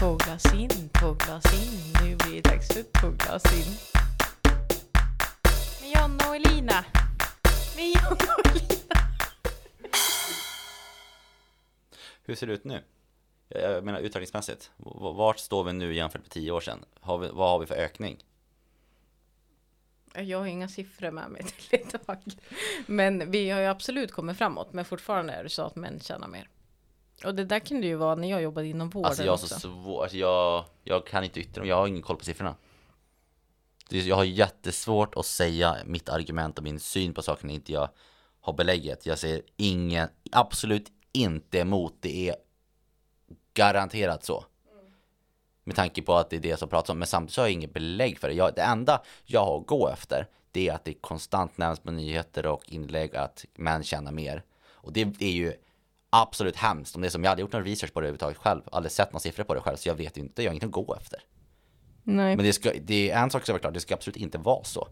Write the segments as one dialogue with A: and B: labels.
A: Två glas in, två glas in. Nu blir det dags för två glas in. Med Jonna och Elina. Med Jonna och Elina.
B: Hur ser det ut nu? Jag- Jag menar uttagningsmässigt. V- Vart står vi nu jämfört med tio år sedan? Har vi, vad har vi för ökning?
A: Jag har inga siffror med mig till idag. Men vi har ju absolut kommit framåt. Men fortfarande är det så att män tjänar mer. Och det där kunde ju vara när jag jobbade inom vården
B: Alltså jag har
A: också.
B: så svårt, alltså jag, jag kan inte yttra mig, jag har ingen koll på siffrorna. Det är- Jag har jättesvårt att säga mitt argument och min syn på saker när inte jag har belägget. Jag säger ingen, absolut inte emot, det är garanterat så. Med tanke på att det är det som pratas om, men samtidigt så har jag inget belägg för det. Jag, det enda jag har att gå efter, det är att det konstant nämns på nyheter och inlägg att män tjänar mer. Och det är ju absolut hemskt om det är som jag hade gjort någon research på det överhuvudtaget själv, aldrig sett några siffror på det själv, så jag vet ju inte, jag har inget att gå efter.
A: Nej.
B: Men det, ska, det är en sak som är klar, det ska absolut inte vara så.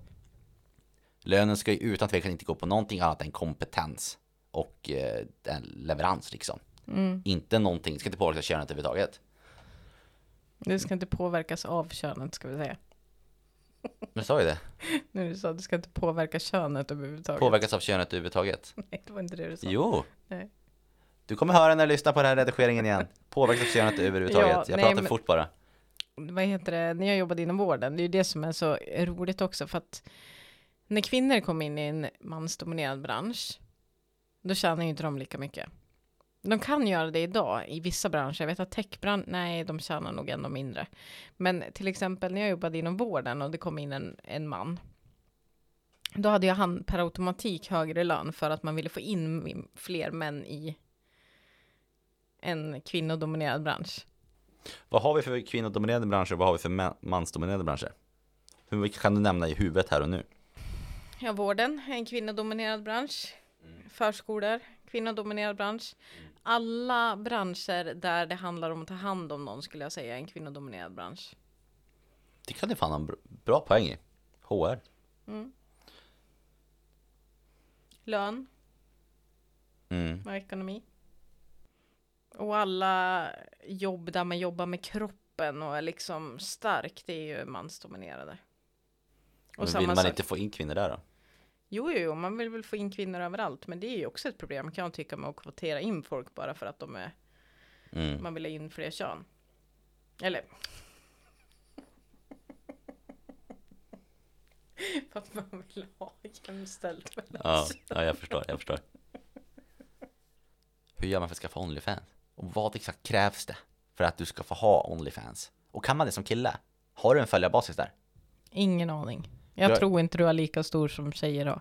B: Lönen ska ju utan tvekan inte gå på någonting annat än kompetens och eh, en leverans liksom. Inte någonting, ska inte påverka könet överhuvudtaget.
A: Du ska inte påverkas av könet ska vi säga.
B: Men jag sa ju det,
A: Nu du sa att du ska inte påverka könet överhuvudtaget.
B: påverkas av könet överhuvudtaget.
A: Nej, det var inte det du sa.
B: Jo,
A: Nej.
B: du kommer höra när du lyssnar på den här redigeringen igen. Påverkas av könet överhuvudtaget.
A: Ja,
B: jag
A: nej,
B: pratar
A: men-
B: fort bara.
A: vad heter det, när jag jobbade inom vården, det är ju det som är så roligt också för att när kvinnor kommer in i en mansdominerad bransch, då tjänar ju inte de lika mycket. De kan göra det idag i vissa branscher. Jag vet att techbranschen, nej, de tjänar nog ändå mindre. Men till exempel när jag jobbade inom vården och det kom in en, en man, då hade jag han per automatik högre lön för att man ville få in fler män i en kvinnodominerad bransch.
B: Vad har vi för kvinnodominerade branscher och vad har vi för ma- mansdominerade branscher? Hur kan du nämna i huvudet här och nu?
A: Ja, vården är en kvinnodominerad bransch.
B: Mm.
A: Förskolor, kvinnodominerad bransch. Alla branscher där det handlar om att ta hand om någon skulle jag säga är en kvinnodominerad bransch.
B: Det kan du fan ha en br- bra poäng i. HR.
A: Lön
B: Mm.
A: och ekonomi. Och alla jobb där man jobbar med kroppen och är liksom stark, det är ju mansdominerade. Och
B: Men vill
A: samma
B: man
A: sak.
B: inte få in kvinnor där då?
A: Jo, jo, jo, man vill väl få in kvinnor överallt, men det är ju också ett problem kan jag tycka med att kvotera in folk bara för att de är
B: Mm.
A: man vill ha in fler kön. Eller... För att man vill ha jämställt mellan
B: Ja,
A: kön.
B: ja, jag förstår, jag förstår. Hur gör man för att skaffa Onlyfans? Och vad exakt krävs det för att du ska få ha Onlyfans? Och kan man det som kille? Har du en följarbasis där?
A: Ingen aning. Jag
B: Jag-
A: tror inte du är lika stor som tjejer då.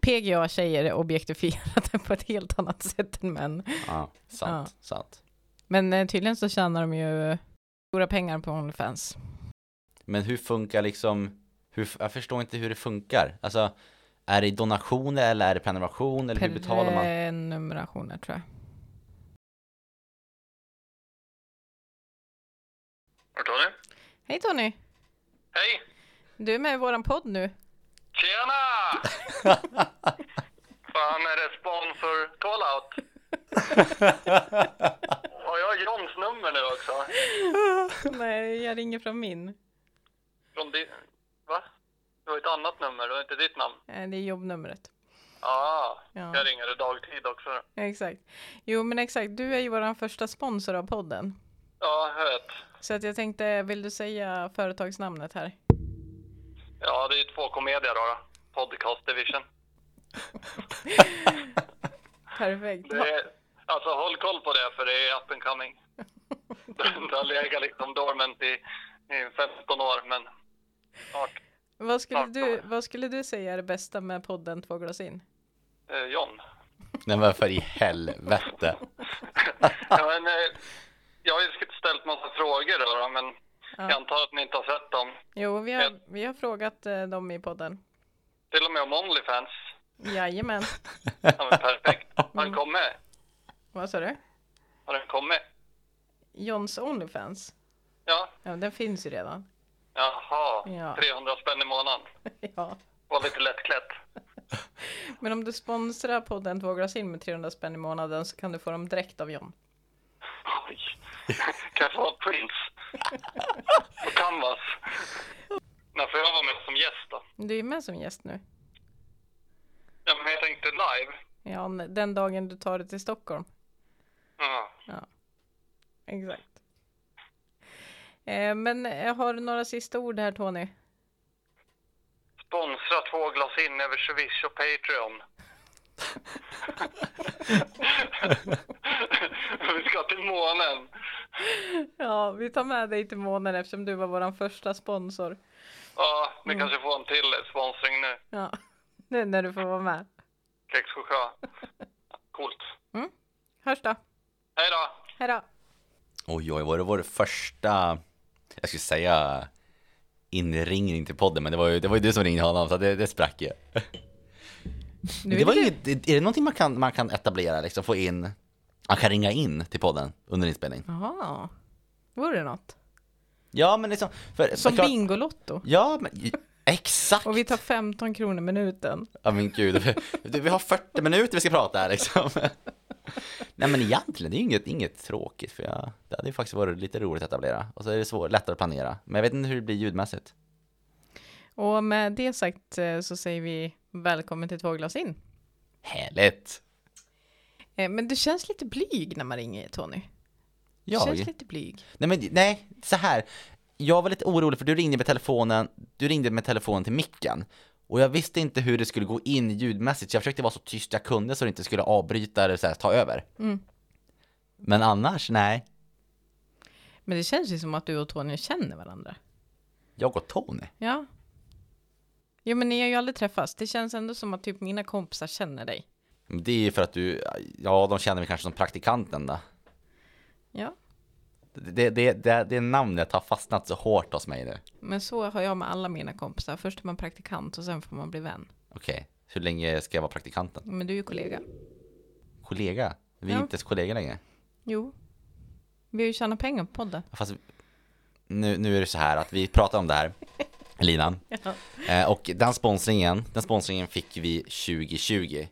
A: PGA-tjejer är objektifierade på ett helt annat sätt än män.
B: Ja, sant, sant.
A: Men eh, tydligen så tjänar de ju stora pengar på Onlyfans.
B: Men hur funkar liksom, hur, jag förstår inte hur det funkar. Alltså, är det donationer eller är det prenumeration eller hur betalar man?
A: Prenumerationer tror jag.
C: Vart var du?
A: Hej Tony!
C: Hej!
A: Du är med i våran podd nu.
C: Tjena! Fan, är det sponsor callout? Har jag Johns nummer nu också?
A: Nej, jag ringer från min.
C: Från din... Va? Du har ett annat nummer, du har inte ditt namn.
A: Eh, Det är jobbnumret.
C: Ah,
A: Ja.
C: jag ringer i dagtid också.
A: Exakt. Jo men exakt, du är ju vår första sponsor av podden.
C: Ja, jag vet.
A: Så att jag tänkte, vill du säga företagsnamnet här?
C: Ja, det är ju två komedier då. då. Podcast Division.
A: Perfekt.
C: Det är, alltså håll koll på det för det är up and coming. Det har legat liksom dormant i, i 15 år men snart.
A: Va- Vad skulle,
C: snart
A: du, vad skulle du säga är det bästa med podden Två glas in?
C: Eh, John.
B: Nej men för i helvete.
C: ja, men, eh, jag har ju ställt massa frågor då, då men jag antar att ni inte har sett dem.
A: Jo, vi har,
C: Ja.
A: vi har frågat eh, dem i podden.
C: Till och med om Onlyfans.
A: Jajamän.
C: Ja, men perfekt. Har den kommit?
A: Vad sa du?
C: Har den kommit?
A: Johns Onlyfans?
C: Ja.
A: Ja, den finns ju redan.
C: Jaha.
A: Ja.
C: 300 spänn i månaden.
A: Ja.
C: Var lite lättklätt.
A: Men om du sponsrar podden Två glas in med 300 spänn i månaden så kan du få dem direkt av John.
C: Oj. Kan jag få ha Prince? På canvas? När får jag vara med som gäst då?
A: Du är med som gäst nu.
C: Ja, men jag tänkte live.
A: Ja, n- den dagen du tar dig till Stockholm.
C: Ja.
A: Exakt. Eh, men eh, har du några sista ord här Tony?
C: Sponsra två glas in över Swish och Patreon. Vi ska till månen.
A: Ja, vi tar med dig till månen eftersom du var vår första sponsor.
C: Ja, ni kanske får en till sponsring nu.
A: Ja, nu när du får vara med.
C: Kexchoklad. Coolt.
A: Hörs då.
C: Hej då!
A: Hej då.
B: Oj, oj, var det vår första, jag skulle säga inringning till podden, men det var ju, det var ju du som ringde honom, så det, det sprack ju.
A: Nu
B: Men
A: är
B: det var
A: du-
B: inget, är det någonting man kan, man kan etablera, liksom få in, man kan ringa in till podden under inspelning?
A: Jaha. Vore det något?
B: Ja, men liksom, för,
A: Som
B: såklart-
A: Bingolotto.
B: Ja, men exakt!
A: Och vi tar 15 kronor minuten.
B: Ja men gud, vi, vi har 40 minuter vi ska prata här liksom. Nej men egentligen, det är ju inget, inget tråkigt för jag, det hade ju faktiskt varit lite roligt att etablera. Och så är det svår, lättare att planera. Men jag vet inte hur det blir ljudmässigt.
A: Och med det sagt eh, så säger vi välkommen till Två glas in.
B: Härligt!
A: Eh, Men du känns lite blyg när man ringer Tony. Du
B: Jag?
A: känns lite blyg.
B: Nej men nej, så här. Jag var lite orolig för du ringde med telefonen, du ringde med telefonen till micken. Och jag visste inte hur det skulle gå in ljudmässigt, så jag försökte vara så tyst jag kunde så det inte skulle avbryta eller så här, ta över.
A: Mm.
B: Men annars, nej.
A: Men det känns ju som att du och Tony känner varandra.
B: Jag och Tony.
A: Ja. Jo men ni har ju aldrig träffats. Det känns ändå som att typ mina kompisar känner dig.
B: Men Det är ju för att du, ja de känner mig kanske som praktikanten då.
A: Ja.
B: Det, det, det, det namnet har fastnat så hårt hos mig nu.
A: Men så har jag med alla mina kompisar. Först är man praktikant och sen får man bli vän.
B: Okej, hur länge ska jag vara praktikanten?
A: Men du är ju kollega.
B: Kollega? Vi är
A: Ja.
B: inte ens kollegor längre.
A: Jo. Vi har ju tjänat pengar på podden.
B: Fast nu, nu är det så här att vi pratar om det här, Linan. Eh, och den sponsringen, den sponsringen fick vi 2020.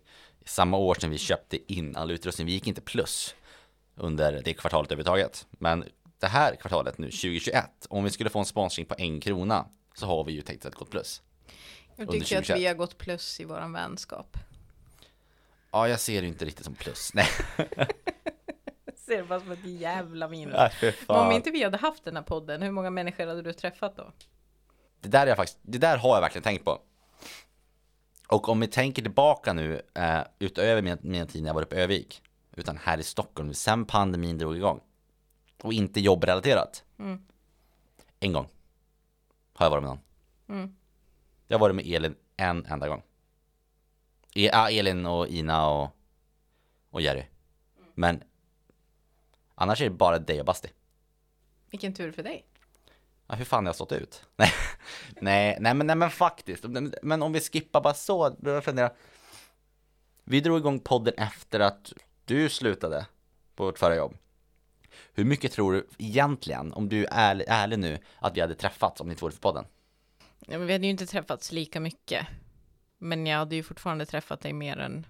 B: Samma år som vi köpte in all utrustning. Vi gick inte plus under det kvartalet överhuvudtaget. Men det här kvartalet nu, 2021, om vi skulle få en sponsring på en krona så har vi ju tänkt att gå plus.
A: Jag
B: Under
A: tycker att
B: 2021.
A: vi har gått plus i våran vänskap.
B: Ja, jag ser det inte riktigt som plus. Nej,
A: Ser det bara som ett jävla minus.
B: Nej, för
A: Men om
B: fan.
A: inte vi hade haft den här podden, hur många människor hade du träffat då?
B: Det där, är jag faktiskt, det där har jag verkligen tänkt på. Och om vi tänker tillbaka nu, eh, utöver min, min tid när jag var uppe i Övik, utan här i Stockholm, sen pandemin drog igång, och inte jobbrelaterat.
A: Mm.
B: En gång har jag varit med någon.
A: Mm.
B: Jag har varit med Elin en enda gång. E, ja, Elin och Ina och, och Jerry.
A: Mm.
B: Men annars är det bara dig och Basti.
A: Vilken tur för dig.
B: Ja, hur fan har jag stått ut? Nej, nej, nej, men, nej men faktiskt. Men om vi skippar bara så, börjar jag fundera. Vi drog igång podden efter att du slutade på vårt förra jobb. Hur mycket tror du egentligen, om du är ärlig, ärlig nu, att vi hade träffats om ni inte vore för podden?
A: Ja, men vi hade ju inte träffats lika mycket. Men jag hade ju fortfarande träffat dig mer än,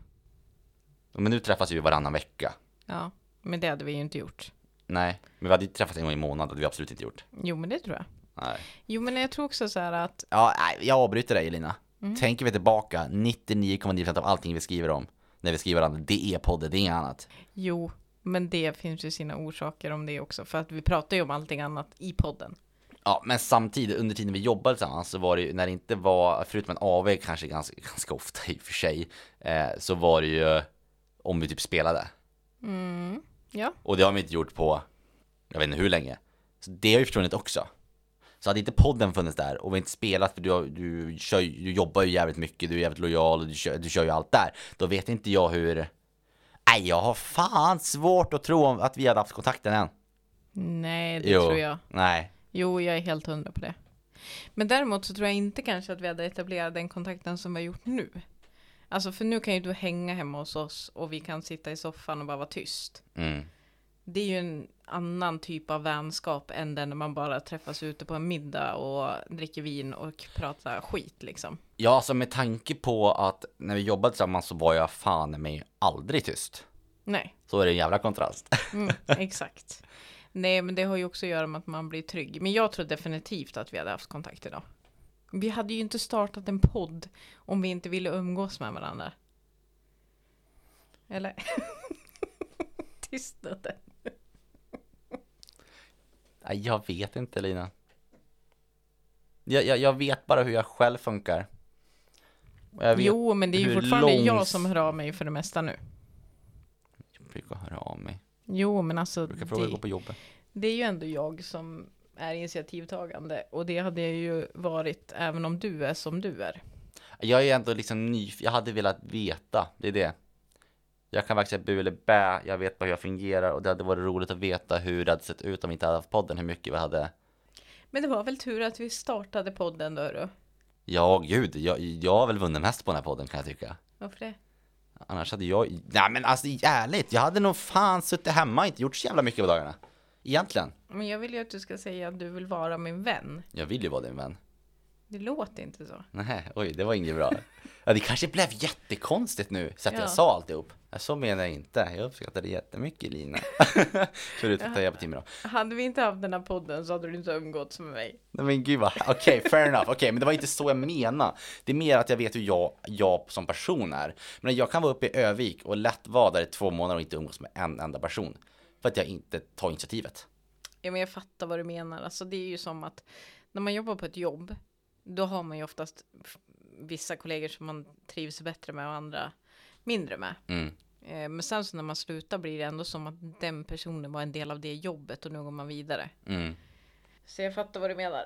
B: Men nu träffas vi varannan vecka.
A: ja, men det hade vi ju inte gjort.
B: Nej, men vi hade ju träffats en gång i månaden, det hade vi absolut inte gjort.
A: Jo, men det tror jag.
B: Nej.
A: Jo, men jag tror också så här att,
B: Ja, nej, jag avbryter dig Elina. Tänker vi tillbaka, 99,9% av allting vi skriver om, när vi skriver varandra, det är podden, det är inget annat.
A: jo, men det finns ju sina orsaker om det också, för att vi pratar ju om allting annat i podden.
B: Ja, men samtidigt under tiden vi jobbade tillsammans så var det ju när det inte var, förutom en AV kanske ganska, ganska ofta i och för sig, eh, så var det ju om vi typ spelade.
A: Ja,
B: Och det har vi inte gjort på, jag vet inte hur länge. Så det har ju försvunnit också. Så hade inte podden funnits där och vi inte spelat, för du, har- du, kör, ju- du jobbar ju jävligt mycket, du är jävligt lojal och du kör, du kör ju allt där. Då vet inte jag hur... Nej, jag har fan svårt att tro om att vi hade haft kontakten än.
A: nej, det tror jag.
B: Nej.
A: Jo, jag är helt hundra på det. Men däremot så tror jag inte kanske att vi hade etablerat den kontakten som vi har gjort nu. Alltså för nu kan ju du hänga hemma hos oss och vi kan sitta i soffan och bara vara tyst.
B: Mm.
A: Det är ju en annan typ av vänskap än den när man bara träffas ute på en middag och dricker vin och pratar skit liksom.
B: Ja, alltså med tanke på att när vi jobbade tillsammans så var jag fan mig aldrig tyst.
A: Nej,
B: Så är det en jävla kontrast.
A: mm, exakt. Nej, men det har ju också att göra med att man blir trygg. Men jag tror definitivt att vi hade haft kontakt idag. Vi hade ju inte startat en podd om vi inte ville umgås med varandra. Eller? Tystnaden.
B: Nej, jag vet inte Lina. Jag, jag, jag vet bara hur jag själv funkar. Och jag vet
A: Jo, men det är ju
B: hur
A: fortfarande
B: långs-
A: jag som hör av mig för det mesta nu.
B: Jag brukar höra av mig.
A: Jo, men alltså.
B: Jag brukar fråga hur
A: det-
B: det går på jobbet.
A: Det är ju ändå jag som är initiativtagande och det hade jag ju varit även om du är som du är.
B: Jag är ändå liksom nyfiken. Jag hade velat veta. Det är det. Jag kan varken säga bu eller bä. Jag vet bara hur jag fungerar och det hade varit roligt att veta hur det hade sett ut om vi inte hade haft podden. Hur mycket vi hade.
A: Men det var väl tur att vi startade podden då du?
B: Ja, gud. Jag, jag har väl vunnit mest på den här podden kan jag tycka.
A: Varför det?
B: Annars hade jag, nej men alltså ärligt, jag hade nog fan suttit hemma och inte gjort så jävla mycket på dagarna. Egentligen.
A: Men jag vill ju att du ska säga att du vill vara min vän.
B: Jag vill ju vara din vän.
A: Det låter inte så.
B: Nej, oj, det var inget bra. Ja, det kanske blev jättekonstigt nu, så att
A: Ja.
B: jag sa alltihop. Ja, Så menar jag inte. Jag uppskattar det jättemycket Lina. Förutom att jag hjälper till med då.
A: Hade vi inte haft den här podden så hade du inte umgåtts med mig.
B: Nej men gud vad, okej fair enough, okej men det var inte så jag menade. Det är mer att jag vet hur jag, jag som person är. Men jag kan vara uppe i Övik och lätt vara där i två månader och inte umgås med en enda person. För att jag inte tar initiativet.
A: Ja, men jag fattar vad du menar. Alltså, det är ju som att när man jobbar på ett jobb, då har man ju oftast f- vissa kollegor som man trivs bättre med och andra mindre med.
B: Mm.
A: Eh, Men sen så när man slutar blir det ändå som att den personen var en del av det jobbet och nu går man vidare.
B: Mm.
A: Så jag fattar vad du menar.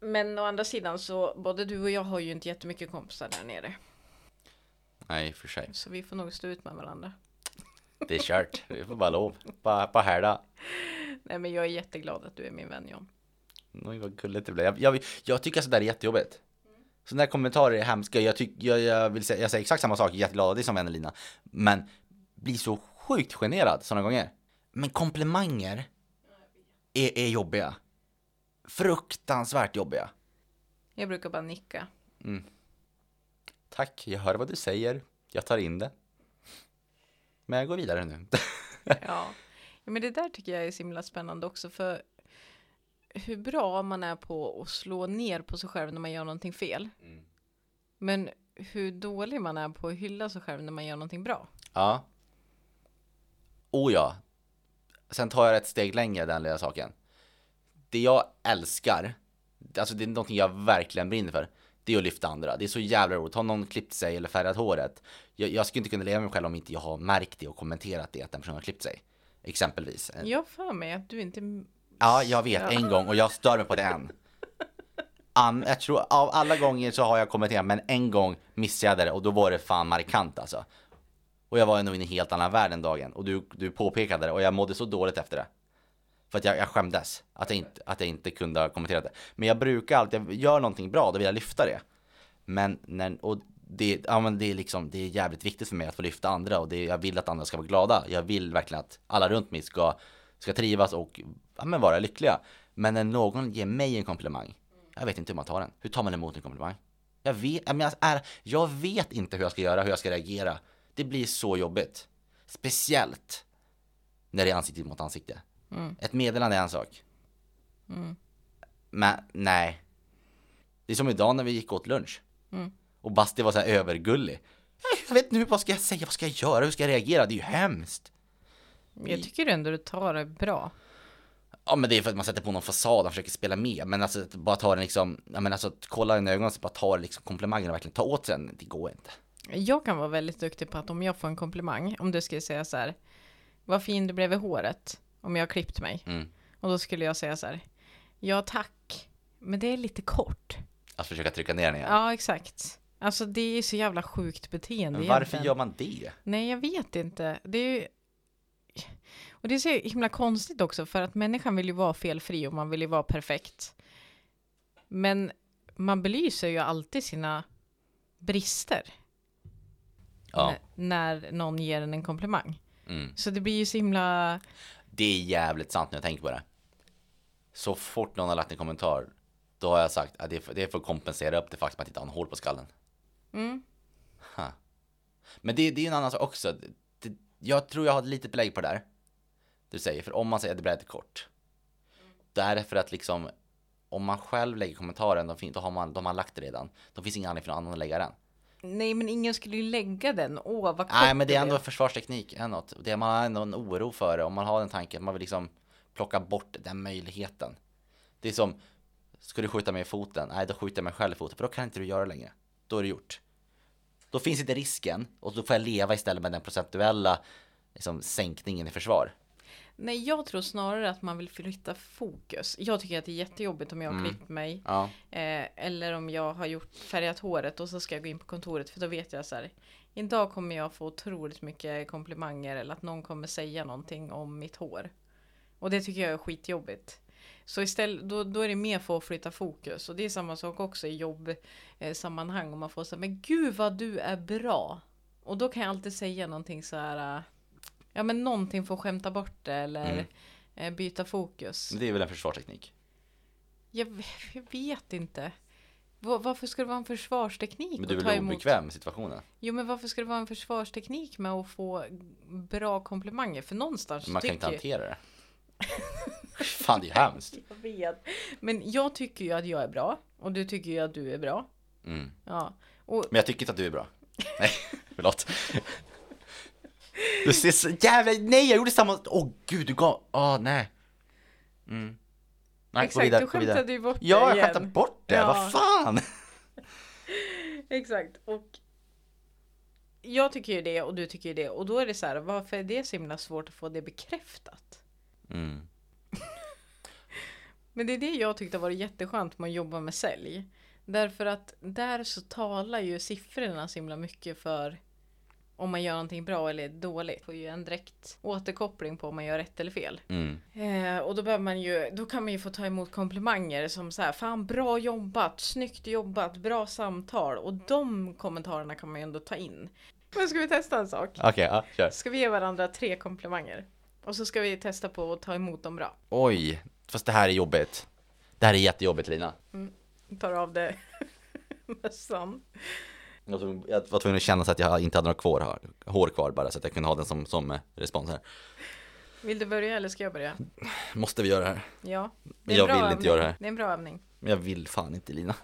A: Men å andra sidan så både du och jag har ju inte jättemycket kompisar där nere.
B: Nej, i och för sig.
A: Så vi får nog stå ut med varandra.
B: Det är kört. Vi får bara lov. Bara, bara härda.
A: Nej men jag är jätteglad att du är min vän John.
B: Oj, vad gulligt det blev. Jag, jag, jag tycker sådär är jättejobbigt. Sådana här kommentarer är hemska. Jag, tyck, jag, jag, vill säga, jag säger exakt samma sak, jätteglad att det är som vänner Lina. Men blir så sjukt generad sådana gånger. Men komplimanger är, är jobbiga. Fruktansvärt jobbiga.
A: Jag brukar bara nicka.
B: Tack, jag hör vad du säger. Jag tar in det. Men jag går vidare nu.
A: Ja. ja men det där tycker jag är så himla spännande också för hur bra man är på att slå ner på sig själv när man gör någonting fel. Men hur dålig man är på att hylla sig själv när man gör någonting bra.
B: Ja. Oh ja. Sen tar jag ett steg längre den lilla saken. Det jag älskar, alltså det är någonting jag verkligen brinner för, det är att lyfta andra. Det är så jävla roligt. Har någon klippt sig eller färgat håret, jag, jag skulle inte kunna leva med mig själv om inte jag har märkt det och kommenterat det att den personen har klippt sig. Exempelvis.
A: Jag har för mig att du inte...
B: Ja, jag vet
A: Ja.
B: en gång och jag stör mig på det än. An, jag tror av alla gånger så har jag kommenterat men en gång missade jag det och då var det fan markant alltså. Och jag var nog i en helt annan värld den dagen och du, du påpekade det och jag mådde så dåligt efter det. För att jag, jag skämdes att jag, inte, att jag inte kunde ha kommenterat det. Men jag brukar alltid, jag gör någonting bra då vill jag lyfta det. Men när, och det, ja, men det är liksom, det är jävligt viktigt för mig att få lyfta andra och det, jag vill att andra ska vara glada. Jag vill verkligen att alla runt mig ska, ska trivas och ja, men vara lyckliga. Men när någon ger mig en komplimang, jag vet inte hur man tar den. Hur tar man emot en komplimang? Jag vet, ja, men jag, är, jag vet inte hur jag ska göra, hur jag ska reagera. Det blir så jobbigt. Speciellt när det är ansikte mot ansikte. Ett meddelande är en sak. Men nej. Det är som idag när vi gick åt lunch. Och Basti var så här övergullig. Jag vet nu, vad ska jag säga, vad ska jag göra, hur ska jag reagera? Det är ju hemskt.
A: Jag tycker ändå du tar det bra.
B: Ja men det är för att man sätter på någon fasad och försöker spela med. Men alltså att bara ta den liksom, ja men alltså att kolla den i ögonen och så bara ta den liksom komplimangen och verkligen ta åt sig den. Det går inte.
A: Jag kan vara väldigt duktig på att om jag får en komplimang, om du skulle säga så här, vad fin du blev i håret, om jag har klippt mig.
B: Mm.
A: Och då skulle jag säga så här, ja tack, men det är lite kort.
B: Att försöka trycka ner den igen.
A: Ja, exakt. Alltså det är så jävla sjukt beteende.
B: men varför
A: egentligen.
B: gör man det?
A: Nej, jag vet inte. Det är ju... Och det är så himla konstigt också, för att människan vill ju vara felfri och man vill ju vara perfekt. Men man belyser ju alltid sina brister
B: Ja.
A: n- när någon ger en en komplimang.
B: Mm.
A: Så det blir ju så himla...
B: Det är jävligt sant när jag tänker på det. Så fort någon har lagt en kommentar, då har jag sagt att det är för, det är för att kompensera upp det faktum att jag inte har en hål på skallen.
A: Mm.
B: Ha. Men det, det är ju en annan sak också. Det, jag tror jag har lite belägg på det där. Du säger, för om man säger att det blir lite kort. Därför att liksom, om man själv lägger kommentaren, de, fin- då har man, de har lagt det redan. Då finns ingen anledning för någon annan att lägga den.
A: Nej, men ingen skulle ju lägga den. Åh, vad kort
B: Nej, men det är
A: blev.
B: ändå försvarsteknik. Är något. Det är man har ändå en oro för det, om man har den tanken. Man vill liksom plocka bort den möjligheten. Det är som, ska du skjuta mig i foten? Nej, då skjuter jag mig själv i foten, för då kan inte du göra det längre. Då är det gjort. Då finns inte risken och då får jag leva istället med den procentuella liksom, sänkningen i försvar.
A: Nej, jag tror snarare att man vill flytta fokus. Jag tycker att det är jättejobbigt om jag har klippt mig.
B: Ja,
A: Eh, eller om jag har gjort färgat håret och så ska jag gå in på kontoret för då vet jag så här. Idag kommer jag få otroligt mycket komplimanger eller att någon kommer säga någonting om mitt hår. Och det tycker jag är skitjobbigt. Så istället, då, då är det mer för att flytta fokus. Och det är samma sak också i jobbsammanhang. Om man får säga men gud vad du är bra. Och då kan jag alltid säga någonting så här. eh, Ja men någonting får skämta bort det eller
B: Mm.
A: eh, byta fokus.
B: men det är väl en försvarsteknik.
A: Jag, v- jag vet inte. Va- Varför ska det vara en försvarsteknik?
B: Men du är
A: att ta
B: väl
A: emot-
B: obekväm med situationen?
A: Jo men varför ska det vara en försvarsteknik med att få bra komplimanger? För någonstans
B: Man kan inte
A: tycker
B: hantera det. Fan, det är hemskt.
A: jag vet. Men jag tycker ju att jag är bra. Och du tycker ju att du är bra.
B: Mm.
A: Ja. Och
B: Men jag tycker inte att du är bra. Nej, förlåt. Du ser så jävla... Nej, jag gjorde samma... Åh gud, du gav... Åh nej. Mm. Nej, gå
A: exakt,
B: vidare,
A: du
B: gå vidare.
A: skämtade ju bort det
B: Ja, jag
A: igen.
B: skämtade bort det.
A: Ja.
B: Vad fan!
A: Exakt. Och jag tycker ju det och du tycker ju det. Och då är det så här, varför är det så himla svårt att få det bekräftat?
B: Mm.
A: Men det är det jag tyckte var jätteskönt med att jobba med sälj. Därför att där så talar ju siffrorna så himla mycket för om man gör någonting bra eller dåligt. Får ju en direkt återkoppling på om man gör rätt eller fel.
B: Mm.
A: Eh, och då, behöver man ju, då kan man ju få ta emot komplimanger som så här, fan bra jobbat, snyggt jobbat, bra samtal. Och de kommentarerna kan man ju ändå ta in. Men ska vi testa en sak?
B: Okej, ja, kör.
A: Ska vi ge varandra tre komplimanger? Och så ska vi testa på att ta emot dem bra.
B: Oj, fast det här är jobbigt. Det här är jättejobbigt Lina.
A: tar av det mössan.
B: Jag var tvungen- jag var tvungen att känna så att jag inte hade några kvar, här- hår kvar bara så att jag kunde ha den som, som eh, respons här.
A: Vill du börja eller ska jag börja?
B: Måste vi göra det här?
A: Ja.
B: Men jag vill inte
A: övning.
B: göra det här.
A: Det är en bra övning.
B: Men jag vill fan inte Lina.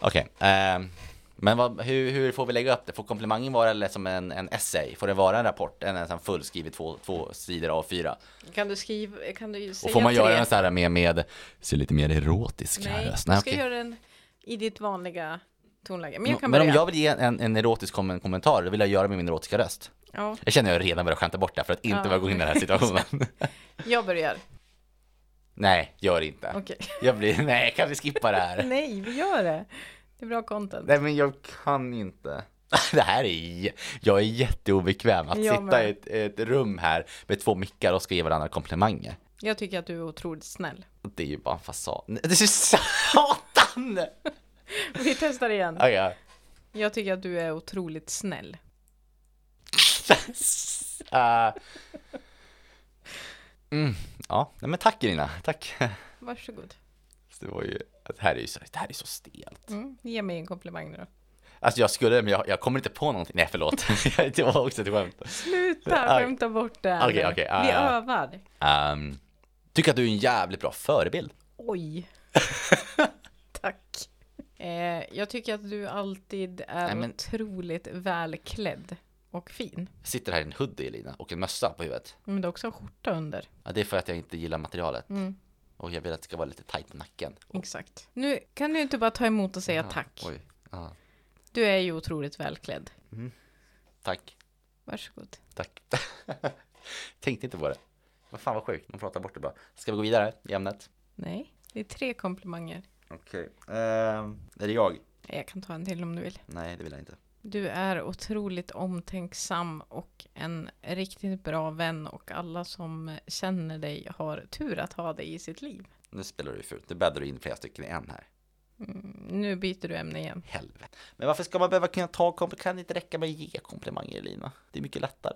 B: Okej, ehm, men vad, hur, hur får vi lägga upp det? Får komplimangen vara eller som en, en essay? Får det vara en rapport? En, en sån fullskriven två, två sidor A4?
A: Kan du skriva, kan du säga
B: Och får man göra
A: tre?
B: den så här med, med, ser lite mer erotisk här
A: Nej,
B: röst?
A: du ska
B: okej.
A: göra den i ditt vanliga tonläge. Men jag kan
B: Men om
A: börja.
B: jag vill ge en, en erotisk kommen- kommentar, då vill jag göra med min erotiska röst.
A: Ja,
B: Jag känner att jag redan börjar skämta bort det här för att inte
A: Ja.
B: behöva gå in i den här situationen.
A: jag börjar.
B: nej, gör inte.
A: Okej.
B: Jag blir, nej, kan vi skippa det här?
A: Nej, vi gör det. Det är bra content.
B: Nej men jag kan inte. Det här är, jä- jag är jätteobekväm att
A: Jag
B: sitta
A: med.
B: i ett, ett rum här med två mickar och ska ge varandra komplimanger.
A: Jag tycker att du är otroligt snäll.
B: Det är ju bara en fasad. Nej, Det är så satan!
A: Vi testar igen.
B: Okej. ja.
A: Jag tycker att du är otroligt snäll.
B: Eh, mm, ja, nej men tack Irina, tack.
A: Varsågod.
B: Det var ju, det här är ju så, det här är så stelt.
A: Mm. Ge mig en komplimang nu då.
B: Alltså jag skulle, men jag, jag kommer inte på någonting. Nej förlåt, det var också ett skämt.
A: Sluta
B: Aj.
A: skämta bort det här
B: Okej,
A: nu.
B: okej, ja,
A: Vi
B: ja, ja.
A: övar.
B: Ehm, tycker att du är en jävligt bra förebild.
A: Oj. Tack. Eh, jag tycker att du alltid är
B: Nej, men-
A: otroligt välklädd och fin.
B: sitter här i en hoodie Elina och en mössa på huvudet.
A: Men du har också en skjorta under.
B: Ja, det är för att jag inte gillar materialet.
A: Mm.
B: Och jag vill att det ska vara lite tight på nacken. Och,
A: Exakt. Nu kan du inte bara ta emot och säga tack.
B: Oj. Ja.
A: Du är ju otroligt välklädd.
B: Tack,
A: Varsågod.
B: tack. Tänkte inte på det. Vad fan vad sjukt, man pratar bort det bara. Ska vi gå vidare i ämnet?
A: Nej, det är tre komplimanger.
B: Okej. Ehm, är det jag?
A: Jag kan ta en till om du vill.
B: Nej, det vill jag inte.
A: Du är otroligt omtänksam och en riktigt bra vän och alla som känner dig har tur att ha dig i sitt liv.
B: Nu spelar du fult. Nu bäddar du in flera stycken i en här.
A: Mm, nu byter du ämne igen.
B: Helvete. Men varför ska man behöva kunna ta komplimanger? Kan det inte räcka med att ge komplimanger Elina? Det är mycket lättare.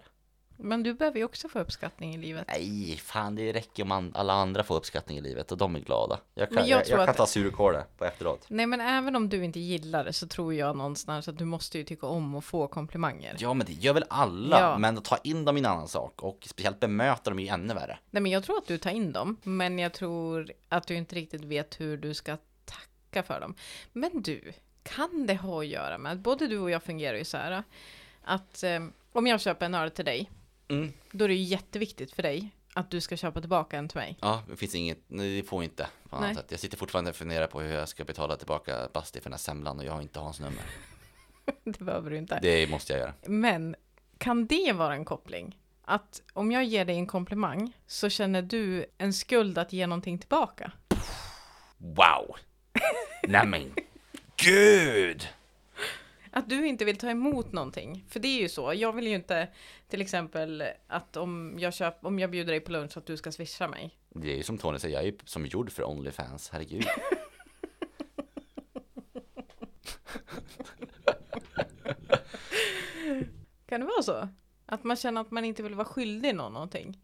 A: Men du behöver ju också få uppskattning i livet.
B: Nej, fan det räcker om an- alla andra får uppskattning i livet och de är glada. Jag kan,
A: Men
B: jag
A: jag
B: jag,
A: tror
B: kan
A: att-
B: ta surkål på efteråt.
A: Nej men även om du inte gillar det så tror jag någonstans att du måste ju tycka om och få komplimanger.
B: Ja men det gör väl alla,
A: Ja.
B: men att ta in dem i en annan sak och speciellt bemöta dem är ju ännu värre.
A: Nej men jag tror att du tar in dem, men jag tror att du inte riktigt vet hur du ska tacka för dem. Men du, kan det ha att göra med, både du och jag fungerar ju så här, att eh, om jag köper en öl till dig,
B: Mm.
A: då är det ju jätteviktigt för dig att du ska köpa tillbaka en till mig.
B: Ja, det finns inget, nej, det får inte på annat
A: Nej.
B: sätt. Jag sitter fortfarande och funderar på hur jag ska betala tillbaka Basti för den här semlan och jag har inte hans nummer.
A: Det behöver du inte.
B: Det måste jag göra.
A: Men kan det vara en koppling? Att om jag ger dig en komplimang så känner du en skuld att ge någonting tillbaka?
B: Wow! Nej men, gud!
A: Att du inte vill ta emot någonting. För det är ju så. Jag vill ju inte till exempel att om jag, köp, om jag bjuder dig på lunch att du ska swisha mig.
B: Det är ju som Tony säger, jag är ju som gjord för Onlyfans, herregud.
A: Kan det vara så? Att man känner att man inte vill vara skyldig någon någonting.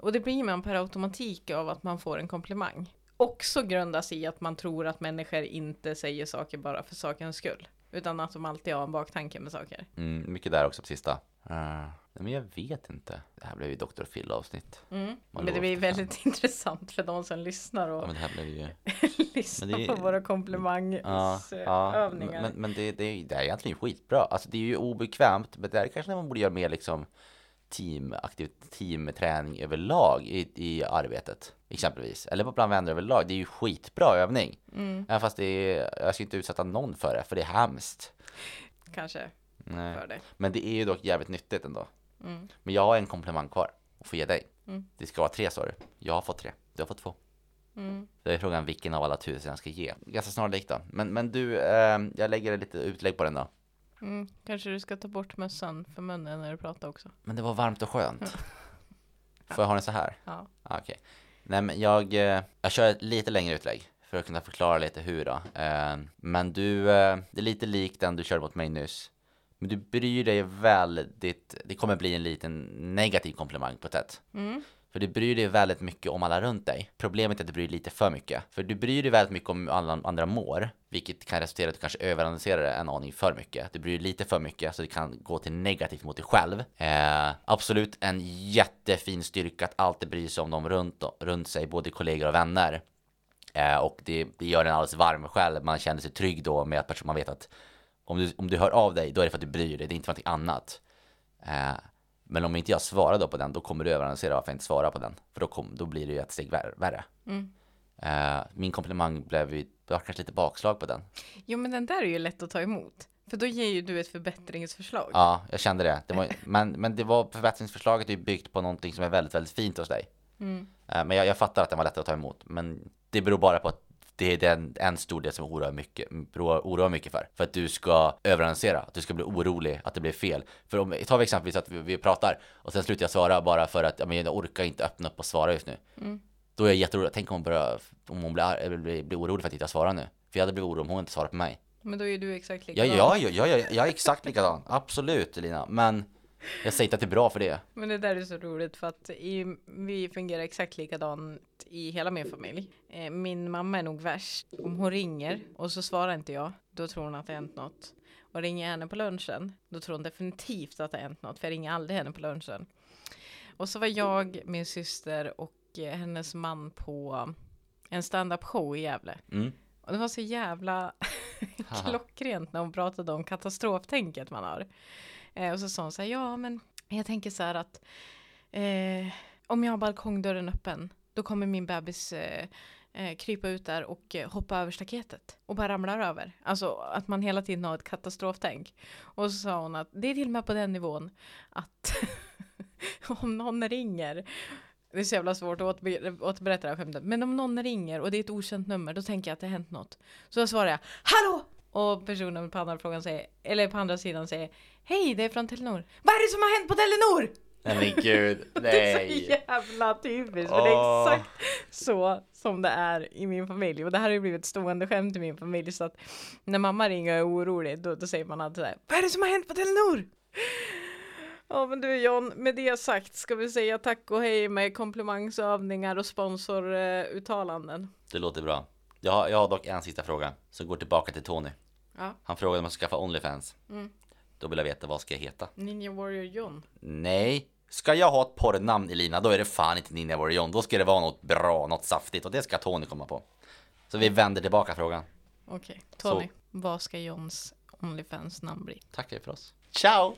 A: Och det blir man per automatik av att man får en komplimang. Också grundas i att man tror att människor inte säger saker bara för sakens skull. Utan att de alltid har en baktanke med saker.
B: Mm, mycket där också på sista. Eh, nej, men jag vet inte. Det här blev ju Dr. Phil avsnitt. Man
A: Mm, Men det
B: lovar
A: blir
B: inte fram.
A: väldigt intressant för de som lyssnar
B: Ja,
A: och
B: men det här blev ju... men
A: lyssnar
B: det-
A: på våra eh, komplimangövningar.
B: ja, men, men det, det, det här är egentligen skitbra. Alltså det är ju obekvämt, men det här är kanske när man borde göra mer liksom teamaktiv teamträning överlag i, i arbetet exempelvis. Eller bland vänner överlag. Det är ju skitbra övning.
A: Mm,
B: Även fast det är, jag ska inte utsätta någon för det, för det är hemskt.
A: Kanske
B: Nej.
A: för det.
B: Men det är ju dock jävligt nyttigt ändå.
A: Mm.
B: Men jag har en komplimang kvar att få ge dig. Det ska vara tre sa du. Jag har fått tre. Du har fått två. Det är frågan vilken av alla tusen jag ska ge. Ganska snarlikt då. Men, men du, eh, jag lägger lite utlägg på den då.
A: Mm, kanske du ska ta bort mössan för munnen när du pratar också.
B: Men det var varmt och skönt. Får jag ha den så här?
A: Ja.
B: Ah, Okej. Nej men jag, eh, jag kör ett lite längre utlägg. För att kunna förklara lite hur då. Eh, men du, eh, det är lite lik den du körde mot mig nyss. Men du bryr dig väldigt, det kommer bli en liten negativ komplimang på ett sätt. För du bryr dig väldigt mycket om alla runt dig. Problemet är att du bryr dig lite för mycket. För du bryr dig väldigt mycket om hur alla andra mår, vilket kan resultera i att du kanske överanalyserar det en aning för mycket. Du bryr dig lite för mycket så det kan gå till negativt mot dig själv. Eh, absolut en jättefin styrka att alltid bry sig om dem runt, runt sig, både kollegor och vänner. Eh, och det, det gör en alldeles varm själv. Man känner sig trygg då med att person- man vet att om du, om du hör av dig, då är det för att du bryr dig. Det är inte för någonting annat. Eh, men om inte jag svarar då på den, då kommer du överanalysera varför jag inte svarar på den. För då, kom, då blir det ju ett steg värre. värre.
A: Mm.
B: Eh, min komplimang blev ju, det var kanske lite bakslag på den.
A: Jo men den där är ju lätt att ta emot. För då ger ju du ett förbättringsförslag.
B: Ja, jag kände det. det var, men, men det var förbättringsförslaget är ju byggt på någonting som är väldigt, väldigt fint hos dig.
A: Mm.
B: Eh, Men jag, jag fattar att den var lättare att ta emot. Men det beror bara på att det är den, en stor del som oroar mycket, oroar, oroar mycket för. För att du ska överanalysera, att du ska bli orolig, att det blir fel. För om, tar vi exempelvis att vi, vi pratar och sen slutar jag svara bara för att ja, men jag orkar inte öppna upp och svara just nu. Då är jag jätteorolig. Tänk om hon, börjar, om hon blir, ar- blir, blir orolig för att inte jag svarar nu. För jag hade blivit orolig om hon inte svarar på mig.
A: Men då är ju du exakt
B: Ja,
A: likadan.
B: ja, ja, ja, ja, jag är exakt likadan. Absolut Elina. Men jag säger inte att det är bra för det.
A: Men det där är så roligt för att i, vi fungerar exakt likadant i hela min familj. Eh, Min mamma är nog värst. Om hon ringer och så svarar inte jag, då tror hon att det har hänt något. Och ringer jag henne på lunchen, då tror hon definitivt att det har hänt något, för jag ringer aldrig henne på lunchen. Och så var jag, min syster och eh, hennes man på en stand-up show i Gävle.
B: Mm.
A: Och det var så jävla klockrent när hon pratade om katastroftänket man har. Eh, och så sa hon så här, ja men jag tänker så här att eh, om jag har balkongdörren öppen då kommer min bebis eh, eh, krypa ut där och eh, hoppa över staketet och bara ramlar över. Alltså att man hela tiden har ett katastroftänk. Och så sa hon att det är till och med på den nivån att om någon ringer det är så jävla svårt att återbe- återberätta det här skämtet. Men om någon ringer och det är ett okänt nummer, då tänker jag att det har hänt något. Så då svarar jag Hallå! Och personen på andra, frågan säger, eller på andra sidan säger Hej, det är från Telenor. Vad är det som har hänt på Telenor?
B: Nej men gud,
A: Det är så jävla typiskt. För det är
B: Åh.
A: exakt så som det är i min familj. Och det här har ju blivit ett stående skämt i min familj. Så att när mamma ringer och är orolig, då, då säger man alltid så här. Vad är det som har hänt på Telenor? Ja men du John, med det sagt ska vi säga tack och hej med komplimangsövningar och sponsoruttalanden.
B: Det låter bra. Jag har, jag har dock en sista fråga som går tillbaka till Tony.
A: Ja.
B: Han frågade om jag ska skaffa Onlyfans.
A: Mm.
B: Då vill jag veta vad ska jag heta?
A: Ninja Warrior John.
B: Nej, ska jag ha ett porrnamn Elina då är det fan inte Ninja Warrior John. Då ska det vara något bra, något saftigt och det ska Tony komma på. Så vi vänder tillbaka frågan.
A: Okej, Tony. Vad ska Johns Onlyfans namn bli?
B: Tackar för oss. Ciao!